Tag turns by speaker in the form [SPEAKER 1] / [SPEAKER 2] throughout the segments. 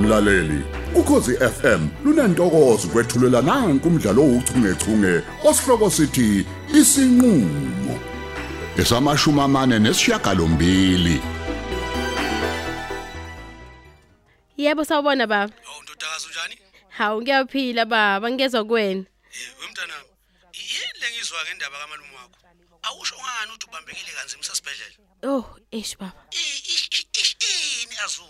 [SPEAKER 1] mlaleli ukhosi FM lunantokozo kwethulela nanku umdlalo ouchungechunge osihloko sithi isinqulo esamashumi amane nesishiyagalombili
[SPEAKER 2] Yebo sawubona baba.
[SPEAKER 3] Hawu ndodakazi unjani?
[SPEAKER 2] Hawu ngiyaphila baba, ngezwe kuwena.
[SPEAKER 3] Eh wemntanami. i- Yini lengizwa ngendaba kamalume wakho? Awusho ngani uthi ubambekile kanzima sasibhedlela?
[SPEAKER 2] Oh, eish baba.
[SPEAKER 3] I- ish- ish- ish- Ini azu.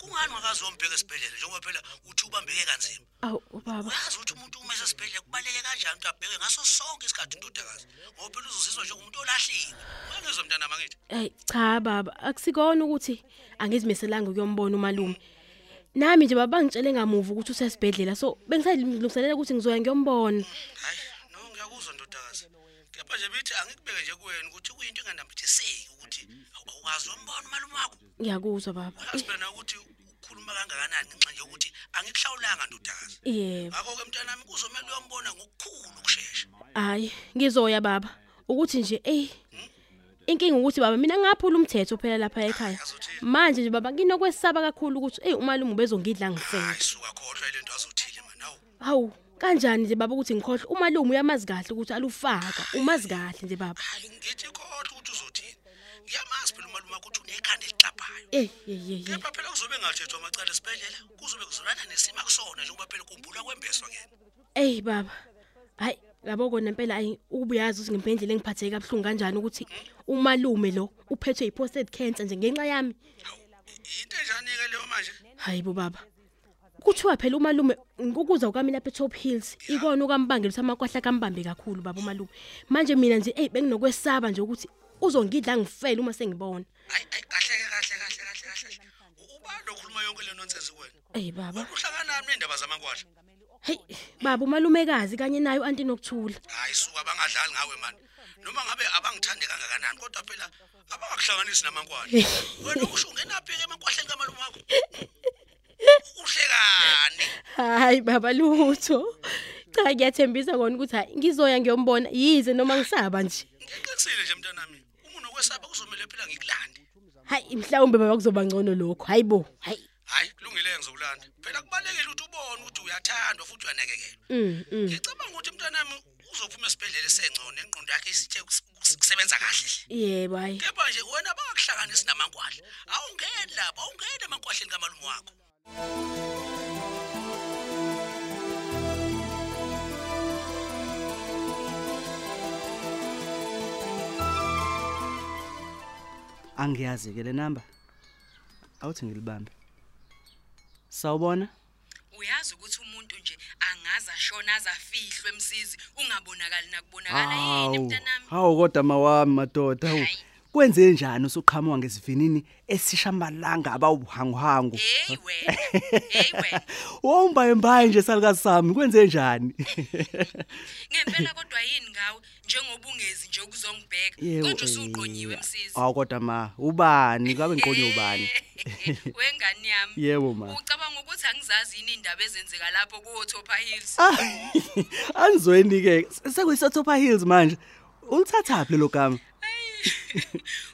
[SPEAKER 3] Kungani wakazombheka esibhedlela njengoba phela uthi ubambeke kanzima?
[SPEAKER 2] Awu baba.
[SPEAKER 3] Uyazi ukuthi umuntu uma esesibhedlela kubaleke kanjani ukuthi abheke ngaso sonke isikhathi indodakazi. Ngoba phela uzozizwa njengomuntu olahliwe. Ungangizwa mntanami angithi?
[SPEAKER 2] Ey cha baba, akusikona ukuthi angizimiselanga ukuyombona umalume. Nami nje baba ngitshele ngamuva ukuthi usesibhedlela so bengisalungiselela ukuthi ngizoya ngiyombona.
[SPEAKER 3] Hayi, no ngiyakuzwa ndodakazi. Kepha nje bithi angikubeke nje kuwena ukuthi kuyinto enganambithiseki ukuthi awu- awukazi wambona malume wakho.
[SPEAKER 2] Ngiyakuzwa baba.
[SPEAKER 3] Asibona ukuthi ukhuluma kangakanani ngenxa nje ukuthi angikuhlawulanga ndodakazi.
[SPEAKER 2] Yebo.
[SPEAKER 3] Ngakho ke mntanami kuzomela uyombona ngokukhulu kushesha.
[SPEAKER 2] Hayi, ngizoya baba. Ukuthi nje ey Inkinga ukuthi baba mina ngaphula umthetho phela lapha ekhaya. Manje nje baba nginokwesaba kakhulu ukuthi ey umalume ubezongidla ngifela.
[SPEAKER 3] Hayi suka khohlwa le nto azothile man. Hawu.
[SPEAKER 2] Hawu, kanjani nje baba ukuthi ngikhohle umalume uyamazi kahle ukuthi alufaka, umazi kahle nje baba.
[SPEAKER 3] Hayi ngithi khohlwa ukuthi uzothini. Ngiyamazi phela umalume wakho ukuthi unekhanda elixaphayo.
[SPEAKER 2] Eh, ye ye ye.
[SPEAKER 3] Kepha phela kuzobe ngathethwa amacala esibhedlela, kuzobe kuzolana nesima kusona njengoba phela kumbulwa kwembeswa kena.
[SPEAKER 2] Ey baba. Hayi, yabo kona impela ayi ubuyazi ukuthi ngimphendlele ngiphatheke kabuhlungu kanjani ukuthi umalume lo uphethwe yiprostate cancer nje ngenxa yami.
[SPEAKER 3] Into enjani ke leyo manje?
[SPEAKER 2] Hayibo baba. Kuthiwa phela umalume ngikuza kwami lapha eTop Hills ikona ukambangela ukuthi amakwahla kambambe kakhulu baba umalume. Manje mina nje ey benginokwesaba nje ukuthi uzongidla ngifele uma sengibona.
[SPEAKER 3] Hayi hayi kahle ke kahle kahle kahle kahle. Uba lokhuluma yonke le nonsense kuwena.
[SPEAKER 2] Ey baba.
[SPEAKER 3] Uhlanganani nendaba zamankwahla?
[SPEAKER 2] Hey baba umalumekazi kanye nayo anti nokthula.
[SPEAKER 3] hayi suka bangadlali ngawe mani noma ngabe abangithandi kangakanani kodwa phela abangakuhlanganisi namankwala
[SPEAKER 2] Eh,
[SPEAKER 3] wena usho ungenaphi-ke emakwahleni kamalume wakho uhlekani
[SPEAKER 2] Hayi baba lutho. Cha ngiyathembisa kona ukuthi hayi ngizoya ngiyombona yize noma ngisaba nje.
[SPEAKER 3] ngiqinisile nje mntanami umuntu okwesaba kuzomele phela ngikulande
[SPEAKER 2] Hayi mhlawumbe baba kuzoba ngcono lokho. Hayibo. Hayi.
[SPEAKER 3] hhayi kulungile ngizokulanda phela kubalulekile ukuthi ubone ukuthi uyathandwa futhi uyanekekelwa
[SPEAKER 2] Mm. mm.
[SPEAKER 3] ngicabanga ukuthi mntanami uzophuma esibhedlela esengcono engqondo yakhe isithe kus- kus- kusebenza kahle hle
[SPEAKER 2] Yebo hayi.
[SPEAKER 3] kepha nje wena bangakuhlanganisi namankwahla awungeni lapho awungeni emankwahleni kamalume wakho
[SPEAKER 4] angiyazi ke le namba awuthi ngilibambe sawubona
[SPEAKER 5] uyazi ukuthi umuntu nje angaza shona azafihlwe emsizi ungabonakali nakubonakala yini
[SPEAKER 4] hawu
[SPEAKER 5] mntanami
[SPEAKER 4] hawu kodwa mawami madoda hawu
[SPEAKER 5] Hayi.
[SPEAKER 4] kwenze njani usuqhamuka ngesivinini esishamalanga abawuhanguhangu
[SPEAKER 5] hey wena hey wena
[SPEAKER 4] wombayembaye nje salukazi sami kwenze njani
[SPEAKER 5] ngempela kodwa yini ngawe njengoba ungezi nje ukuzongibheka konje usuqonyiwe emsizi
[SPEAKER 4] awu kodwa ma ubani kabe
[SPEAKER 5] Eh.
[SPEAKER 4] ngiqonye ubani
[SPEAKER 5] wengane yami
[SPEAKER 4] Yebo, ma.
[SPEAKER 5] ucabanga ukuthi angizazi yini indaba ezenzeka lapho ku Othopa Hills
[SPEAKER 4] Ah, anizweni ke sekuyisothopa hills manje ulithathaphi lelo gama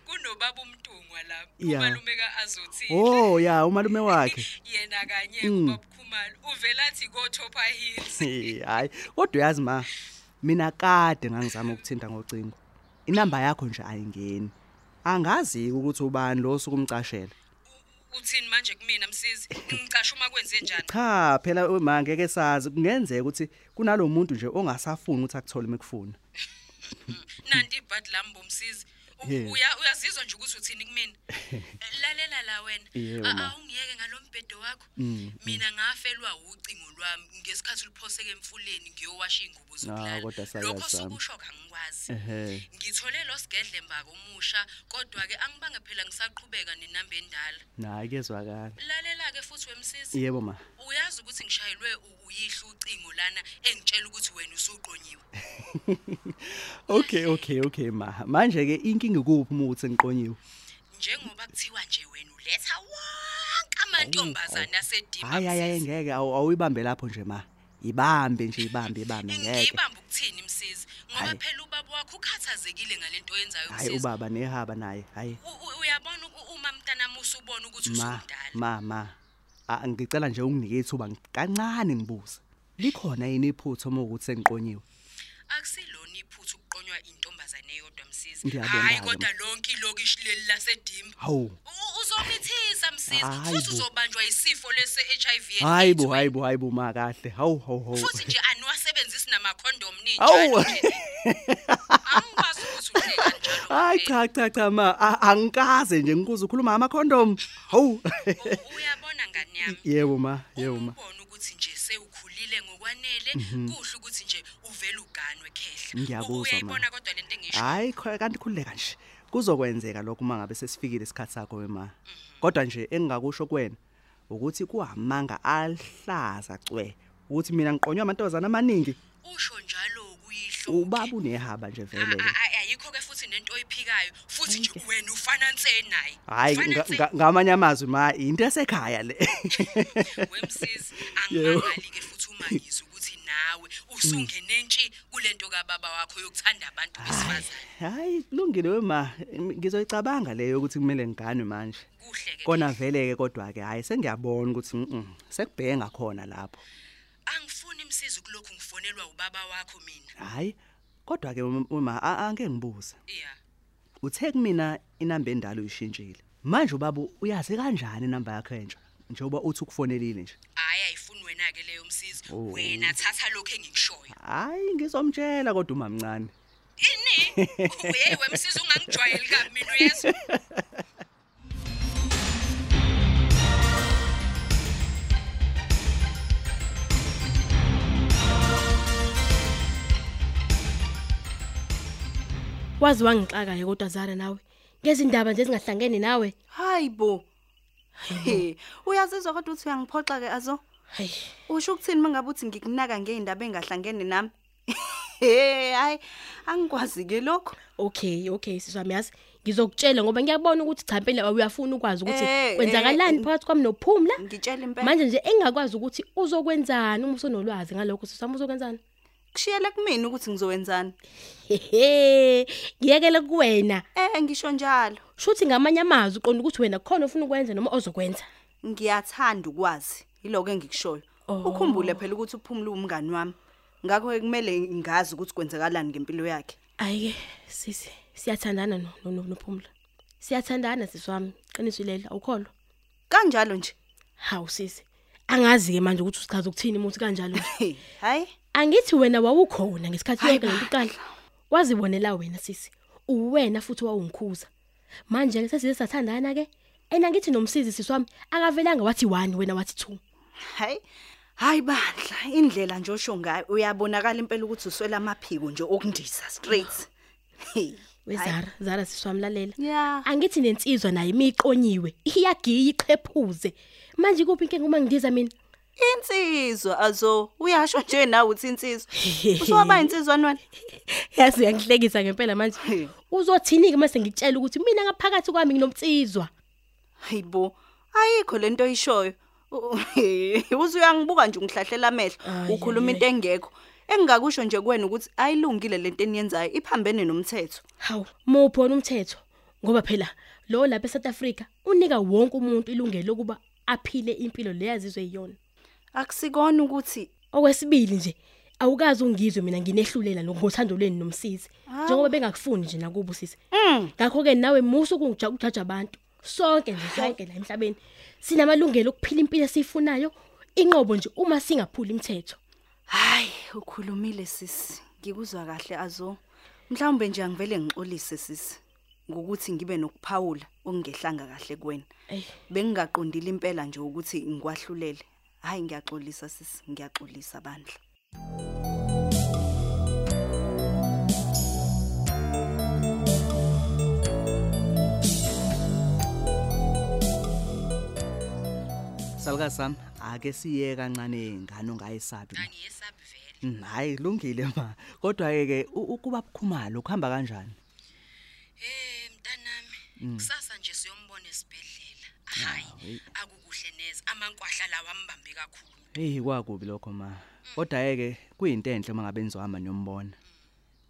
[SPEAKER 5] kunobaba umntungwa lapho
[SPEAKER 4] Ya.
[SPEAKER 5] umalumeka azothile
[SPEAKER 4] oh Mm. ya umalume wakhe
[SPEAKER 5] yena kanye ubabukhumalo uvela athi ko Othopa Hills
[SPEAKER 4] hayi kodwa uyazi ma mina kade ngangizama ukuthinta ngocingo inamba yakho nje ayingeni angazi ukuthi ubani lo sokumcashela
[SPEAKER 5] uthini manje kumina msizi ngicasha uma kwenze njani
[SPEAKER 4] cha phela ma ngeke sazi kungenzeka ukuthi kunalomuntu nje ongasafuni ukuthi akuthole imekufuna
[SPEAKER 5] nanti ibhadi lami bomsizi U-
[SPEAKER 4] Yeah.
[SPEAKER 5] uya- uyazizwa nje ukuthi uthini kumina lalela la wena
[SPEAKER 4] Yebo,
[SPEAKER 5] A-
[SPEAKER 4] ma.
[SPEAKER 5] awungiyeke ngalombhedo wakho
[SPEAKER 4] Mm,
[SPEAKER 5] mina ngafelwa ucingo lwami ngesikhathi liphoseke emfuleni ngiyowasha iy'ngubo
[SPEAKER 4] Ah, kodwa
[SPEAKER 5] zokulala
[SPEAKER 4] sakazi
[SPEAKER 5] lokho
[SPEAKER 4] sami.
[SPEAKER 5] sokusho ngangikwazi
[SPEAKER 4] Ehhe.
[SPEAKER 5] ngithole lo sigedle mbako omusha kodwa-ke angibange phela ngisaqhubeka nenamba endala
[SPEAKER 4] nayi kezwakala
[SPEAKER 5] lalela-ke futhi wemsizi
[SPEAKER 4] yebo ma
[SPEAKER 5] uyazi ukuthi ngishayelwe u- uyihlo ucingo lana engitshela ukuthi wena usuqonyiwe
[SPEAKER 4] okay okay okay ma manje ke inkinga ikuphi uma ukuthi ngiqonyiwe
[SPEAKER 5] njengoba kuthiwa nje wena uletha wonke amantombazane
[SPEAKER 4] hayi hayi hayi,
[SPEAKER 5] asedimba
[SPEAKER 4] ngeke awu- awuyibambe lapho nje ma ibambe nje ibambe ibambe ngeke
[SPEAKER 5] ngiyibamba ukuthini msisi ngoba
[SPEAKER 4] Hayi.
[SPEAKER 5] phela ubaba wakho ukhathazekile ngalento oyenzayo
[SPEAKER 4] hayi
[SPEAKER 5] msisi
[SPEAKER 4] ubaba nehaba naye hayi
[SPEAKER 5] U- u- uyabona u- uma mntanami usubona ukuthi
[SPEAKER 4] ma
[SPEAKER 5] usumdala
[SPEAKER 4] ma ma Ah, ngicela nje unginike ithuba kancane ngibuze. Likhona yini iphutho uma ukuthi sengiqonyiwe?
[SPEAKER 5] akusilona iphutha ukuqonywa intombazane eyodwa msisi
[SPEAKER 4] Ngiyabonga-ke.
[SPEAKER 5] hayi kodwa lonke iloku ishileli lasedimba
[SPEAKER 4] Hawu.
[SPEAKER 5] U- uzomithisa msisi
[SPEAKER 4] Hayi
[SPEAKER 5] futhi
[SPEAKER 4] bo.
[SPEAKER 5] uzobanjwa isifo lese-hiv and
[SPEAKER 4] Hayibo,
[SPEAKER 5] AIDS.
[SPEAKER 4] hayibo, hayibo makahle. Hawu, hawu, hawu.
[SPEAKER 5] futhi nje aniwasebenzisi namakhondom
[SPEAKER 4] Hawu.
[SPEAKER 5] ninjalo angikwazi ukuthi uhle kanjalo
[SPEAKER 4] Hayi cha cha cha ma, a- angikaze nje ngikuze ukhuluma ngamakhondom. Hawu.
[SPEAKER 5] U- uyabona ngani yami
[SPEAKER 4] Yebo ma, yebo ma. Mhm.
[SPEAKER 5] ubona ukuthi nje sewukhulile ngokwanele kuhle ukuthi nje uvele uganwe khehla
[SPEAKER 4] Ngiyakuzwa,
[SPEAKER 5] U-
[SPEAKER 4] ma.
[SPEAKER 5] uyayibona kodwa lento engisho
[SPEAKER 4] Hayi kho- kanti khulileka nje. Kuzokwenzeka lokho uma ngabe sesifikile isikhathi sakho wema. Kodwa nje engingakusho kuwena ukuthi kuhamanga alihlaza cwe. Ukuthi mina ngiqonywa amantozana amaningi,
[SPEAKER 5] usho njalo kuyihlo
[SPEAKER 4] ubaba unehaba nje vele.
[SPEAKER 5] A- a- a- ayikho ke futhi nento oyiphikayo futhi nje wena ufananse naye
[SPEAKER 4] Hayi nga- nga- ngamanye amazwi ma into esekhaya le.
[SPEAKER 5] wemsisi
[SPEAKER 4] Yebo. Mm.
[SPEAKER 5] angimangali ke futhi uma ngizwa ukuthi nawe usungene ntshi kulento kababa wakho yokuthanda abantu besifazane
[SPEAKER 4] Hayi kulungile wema, ngizoyicabanga leyo ukuthi kumele ngiganwe manje.
[SPEAKER 5] kuhle ke
[SPEAKER 4] Kona vele ke kodwa ke hayi sengiyabona ukuthi mm, mm, sekubhenga khona lapho.
[SPEAKER 5] angifuni msisi kulokhu ngifonelwa ubaba wakho mina
[SPEAKER 4] Hayi kodwa ke uma angeke ngibuze.
[SPEAKER 5] yeah
[SPEAKER 4] uthe kumina inamba endala uyishintshile manje ubaba uyazi kanjani inamba yakho entsha njengoba uthi ukufonelile nje
[SPEAKER 5] hayi ayifuni wena ke leyo msisi wena thatha lokho engikushoyo
[SPEAKER 4] hayi ngizomtshela kodwa umamncane
[SPEAKER 5] ini hey wemsisi ungangijwayeli kabi mina uyezwa
[SPEAKER 2] wazi wangixaka-ke kodwa zara nawe ngezindaba nje ezingahlangene nawe
[SPEAKER 6] hayi bo He, uyazizwa kodwa uthi uyangiphoxa-ke azo
[SPEAKER 2] hayi
[SPEAKER 6] usho ukuthini uma ngabe uthi ngikunaka ngey'ndaba ey'ngahlangene nami he hhayi angikwazi-ke lokhu
[SPEAKER 2] okay okay siswami yazi ngizokutshela ngoba ngiyabona ukuthi cha impela uyafuna ukwazi ukuthi
[SPEAKER 6] Eh,
[SPEAKER 2] kwenzakalani
[SPEAKER 6] eh,
[SPEAKER 2] phakathi kwami nophumla
[SPEAKER 6] ngitshela impela
[SPEAKER 2] manje nje engakwazi ukuthi uzokwenzani uma usonolwazi ngalokho siswami uzokwenzani
[SPEAKER 6] kushiyele kumina ukuthi ngizowenzani
[SPEAKER 2] hehe ngiyekele kuwena
[SPEAKER 6] eh ngisho njalo
[SPEAKER 2] shuthi ngamanye amazwi uqonda ukuthi wena khona ofuna ukwenza noma ozokwenza
[SPEAKER 6] ngiyathanda ukwazi yiloko engikushoyo ukhumbule phela ukuthi uphumule umngani wami ngakho-ke kumele ngazi ukuthi kwenzakalani ngempilo yakhe
[SPEAKER 2] hayi-ke sisi siyathandana no- no- no- nophumla siyathandana siswami qiniso ilela awukholwa
[SPEAKER 6] kanjalo nje
[SPEAKER 2] hawu sisi angazi-ke manje ukuthi usichaza ukuthini muthi kanjalo nje
[SPEAKER 6] He, hhayi
[SPEAKER 2] angithi wena wawukhona ngesikhathi
[SPEAKER 6] Hayi
[SPEAKER 2] yonke lento iqala wazibonela wena sisi uwena futhi wawungikhuza manje-ke sesize sathandana-ke and angithi nomsizi sisi wami akavelanga wathi one wena wathi two
[SPEAKER 6] hhayi hhayi bandla indlela nje osho ngayo uyabonakala impela ukuthi uswela amaphiko nje okundisa straight He,
[SPEAKER 2] wezara zara sisi wami lalela
[SPEAKER 6] ya
[SPEAKER 2] angithi nensizwa naye imiqonyiwe iyagiya iqhephuze manje kuphi inkinga uma ngidiza mina
[SPEAKER 6] insizwa azo uyasho nje nawe uthi insizwa usowaba insizwana wena
[SPEAKER 2] yazi yangihlekisa ngempela manje
[SPEAKER 6] He.
[SPEAKER 2] uzothini-ke mase ngitshela ukuthi mina ngaphakathi kwami nginomsizwa
[SPEAKER 6] hayi bo ayikho lento oyishoyo U- he, uze uyangibuka nje ungihlahlela amehlo
[SPEAKER 2] Ayi,
[SPEAKER 6] ukhuluma
[SPEAKER 2] ayi,
[SPEAKER 6] into engekho engingakusho nje kuwena ukuthi ayilungile lento eniyenzayo iphambene nomthetho
[SPEAKER 2] hawu muphi wona umthetho ngoba phela lo lapha eSouth Africa unika wonke umuntu ilungelo lokuba aphile impilo leyazizwe yiyona
[SPEAKER 6] akusikona ukuthi
[SPEAKER 2] okwesibili nje awukazi ungizwe mina nginehlulela ngokuthandolweni nomsisi njengoba bengakufuni nje nakubo sisi ngakho ke nawe musu kungijaja abantu sonke nje sonke la emhlabeni sinamalungelo okuphila impilo esiyifunayo inqobo nje uma singaphuli imithetho
[SPEAKER 6] hayi ukhulumile sisi ngikuzwa kahle azo mhlawumbe nje angivele ngixolise sisi ngokuthi ngibe nokuphawula okungehlanga kahle kuwena
[SPEAKER 2] Ey.
[SPEAKER 6] bengingaqondile impela nje ukuthi ngikwahlulele hayi ngiyaxolisa sisi ngiyaxolisa bandla
[SPEAKER 4] saluka sami ake siye kancane ingane ongayisabi ma.
[SPEAKER 5] angiyesabi vele
[SPEAKER 4] Mm, hayi kulungile ma kodwa ke ukuba bukhumalo kuhamba kanjani
[SPEAKER 5] Eh mntanami, kusasa nje siyombona esibhedlela. Hayi, akukuhle neze. Amankwahla lawa ambambe kakhulu.
[SPEAKER 4] hey kwakubi lokho ma kodwa ke kuyinto enhle mangabe nizohamba niyombona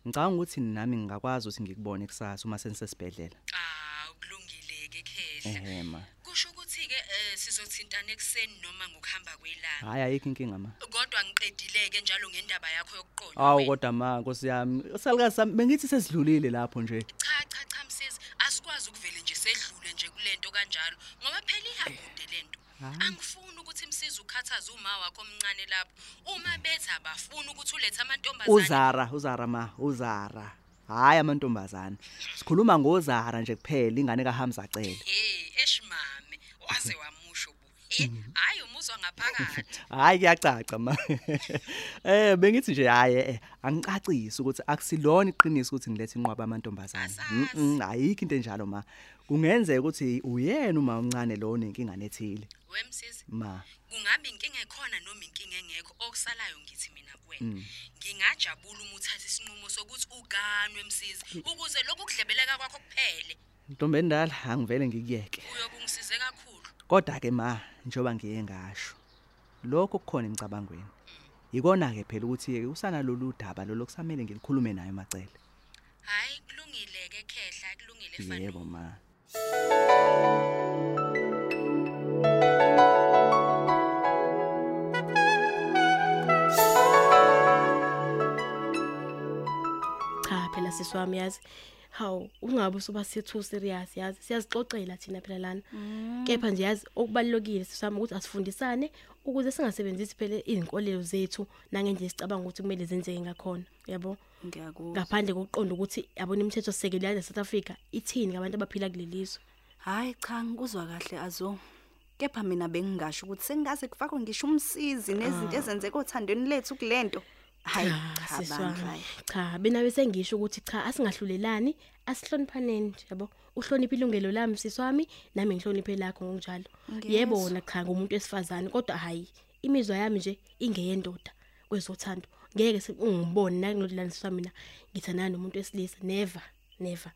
[SPEAKER 4] ngicabanga ukuthi nami ngingakwazi ukuthi ngikubone kusasa uma senisesibhedlela
[SPEAKER 5] Ah, kulungile ke khehla.
[SPEAKER 4] ehe ma
[SPEAKER 5] Kusho ukuthi ke eh, sizothintana ekuseni noma ngokuhamba kwelanga
[SPEAKER 4] hhayi ayikho inkinga ma
[SPEAKER 5] kodwa ngiqedileke njalo ngendaba yakho yokuqonda
[SPEAKER 4] awu
[SPEAKER 5] wena.
[SPEAKER 4] kodwa ma nkosi yami usalukazi sami bengithi sesidlulile lapho nje
[SPEAKER 5] cha cha cha msisi asikwazi ukuvele nje sedlule nje kulento kanjalo ngoba phela ihambude lento angifuni ukuthi msizi ukhathaze uma wakho omncane lapho uma bethi abafuni ukuthi ulethe amantombazane
[SPEAKER 4] uzara uzara ma uzara hhayi amantombazane sikhuluma ngozara nje kuphela ingane kahamza acele
[SPEAKER 5] hey eshimame waze wamusho bo eh hayi umuzwa ngaphakathi
[SPEAKER 4] hayi kuyacaca ma eh bengithi nje hayi eh, eh, angicacisi ukuthi akusilona iqiniso ukuthi ngilethe inqwaba amantombazane
[SPEAKER 5] Asazi.
[SPEAKER 4] Mm, mm, ayikho into enjalo ma kungenzeka ukuthi uyena uma umncane lo nenkinga nethile
[SPEAKER 5] wemsisi
[SPEAKER 4] ma
[SPEAKER 5] kungabe inkinga ekhona noma inkinga engekho okusalayo ngithi mina kuwena ngingajabula uma uthatha isinqumo sokuthi uganwe msizi ukuze lokhu kudlebeleka kwakho kuphele
[SPEAKER 4] ntombi endala angivele ngikuyeke
[SPEAKER 5] uyobungisize kakhulu
[SPEAKER 4] kodwa ke ma njoba ngiye ngasho lokho kukhona emicabangweni ikona ke phela ukuthi ke usana lolu daba lolo kusamele ngilikhulume naye macele
[SPEAKER 5] hayi kulungile ke khehla kulungile fanele
[SPEAKER 4] yebo ma
[SPEAKER 2] cha phela sisi wami yazi hawu ungabe usuba sethu serious yazi siyazixoxela thina phela lana kepha nje yazi okubalulekile sisi wami ukuthi asifundisane ukuze singasebenzisi phela izinkolelo zethu nangendlela sicabanga ukuthi kumele zenzeke ngakhona yabo
[SPEAKER 6] ngiyakuzwa
[SPEAKER 2] ngaphandle kokuqonda ukuthi yabona imithetho sekelo yase South Africa ithini ngabantu abaphila kulelizwe
[SPEAKER 6] hayi cha ngikuzwa kahle azo kepha mina bengingasho ukuthi sengaze kufakwe ngisho umsizi nezinto ezenzeka othandweni lethu kulento hayi cha
[SPEAKER 2] sisi
[SPEAKER 6] bandla
[SPEAKER 2] wami
[SPEAKER 6] hayi.
[SPEAKER 2] cha bena bese ngisho ukuthi cha asingahlulelani asihloniphaneni nje yabo uhloniphe ilungelo lami sisi wami nami ngihloniphe lakho ngokunjalo
[SPEAKER 6] Ngiyezwa.
[SPEAKER 2] yebo wona cha ngumuntu wesifazane kodwa hayi imizwa yami nje ingeyendoda kwezothando ngeke se- ungibone nangilodelana sisi wami mina ngithandana nomuntu wesilisa never never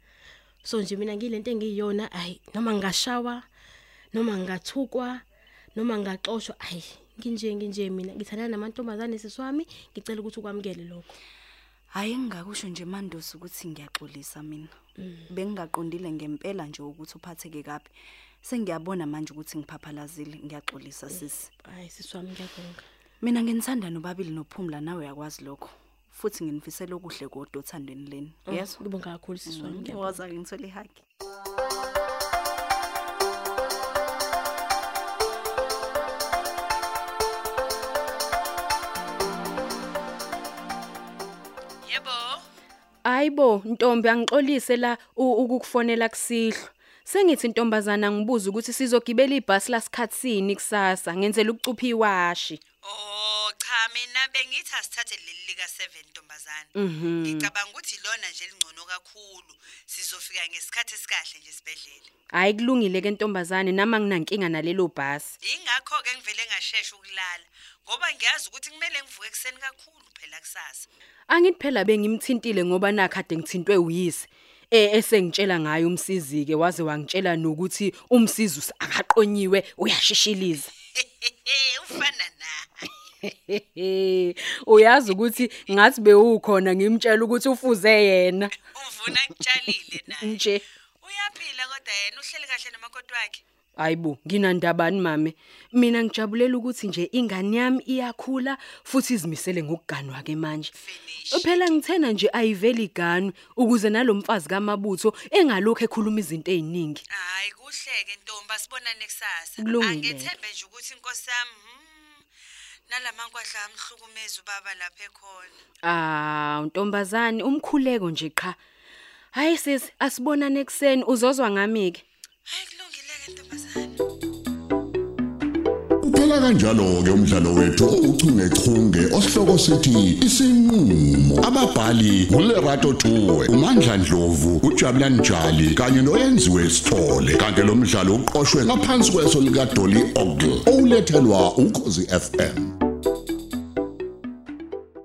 [SPEAKER 2] so nje mina ngilento engiyona hayi noma ngingashawa noma ngingathukwa noma ngingaxoshwa hayi nginje nginje mina ngithandana namantombazane sisi wami ngicela ukuthi ukwamukele lokho
[SPEAKER 6] hayi ngingakusho nje mandosi ukuthi ngiyaxolisa mina bengingaqondile ngempela nje ukuthi uphatheke kabi sengiyabona manje ukuthi ngiphaphalazile ngiyaxolisa sisi
[SPEAKER 2] hayi sisi wami ngiyabonga
[SPEAKER 6] mina nginithanda nobabili nophumla nawe uyakwazi lokho futhi nginifisela okuhle kodwa othandweni leni
[SPEAKER 2] Mm.
[SPEAKER 6] yezwa
[SPEAKER 2] ngibonga kakhulu sisi wami ngiyabonga.
[SPEAKER 6] waza ngithole ihaki
[SPEAKER 5] yebo
[SPEAKER 7] Ayibo ntombi angixolise la u- ukukufonela kusihlwa. Sengithi intombazana ngibuza ukuthi sizogibela ibhasi lasikhatsini kusasa ngenzela ukucupha iwashi.
[SPEAKER 5] oh cha mina bengithi asithathe leli lika 7 ntombazana ngicabanga ukuthi lona nje lingcono kakhulu sizofika ngesikhathi esikahle nje sibedlela
[SPEAKER 7] Hayi kulungile ke ntombazane nama nginankinga nalelo bhasi.
[SPEAKER 5] ingakho ke ngivele ngashesha ukulala ngoba ngiyazi ukuthi kumele ngivuke ekseni kakhulu phela kusasa
[SPEAKER 7] Angiphela bengimthintile ngoba nakhade ngithintwe uyise. Eh esengitshela ngayo umsizi ke waze wangitshela nokuthi umsizi akaqonyiwe uyashishiliza.
[SPEAKER 5] ufana Eh, na
[SPEAKER 7] Uyazi ukuthi ngathi bewukhona ngimtshela ukuthi ufuze yena
[SPEAKER 5] uvuna kutshalile naye
[SPEAKER 7] nje.
[SPEAKER 5] uyaphila kodwa yena uhleli kahle nomakoti wakhe
[SPEAKER 7] Hayibo, nginandabani mame? Mina ngijabulela ukuthi nje ingane yami iyakhula futhi izimisele ngokuganwa ke manje. Phela ngithena nje ayiveli iganu ukuze nalomfazi kaMabutho engalokho ekhuluma izinto eziningi.
[SPEAKER 5] hayi kuhleke ntombi asibonane kusasa
[SPEAKER 7] Kulungile.
[SPEAKER 5] angethembe nje ukuthi inkosi yami mm, nalamankwahla amhlukumeza ubaba lapha ekhona
[SPEAKER 7] Ah, ntombazane, umkhuleko nje qha. Hayi sis, asibonane ekseni uzozwa ngami ke.
[SPEAKER 5] hayi kulungileke ntombazane
[SPEAKER 1] Kuphela kanjalo ke umdlalo wethu ouchungechunge osihloko sithi isinqulo. Ababhali uLerato Tuwe, uMandla Dlovu, uJabulani Njali kanye noyenziwe Sithole. Kanti lo mdlalo uqoqwwe ngaphansi kweso lika Dolly Ogle. Olethelwa ukhosi FM.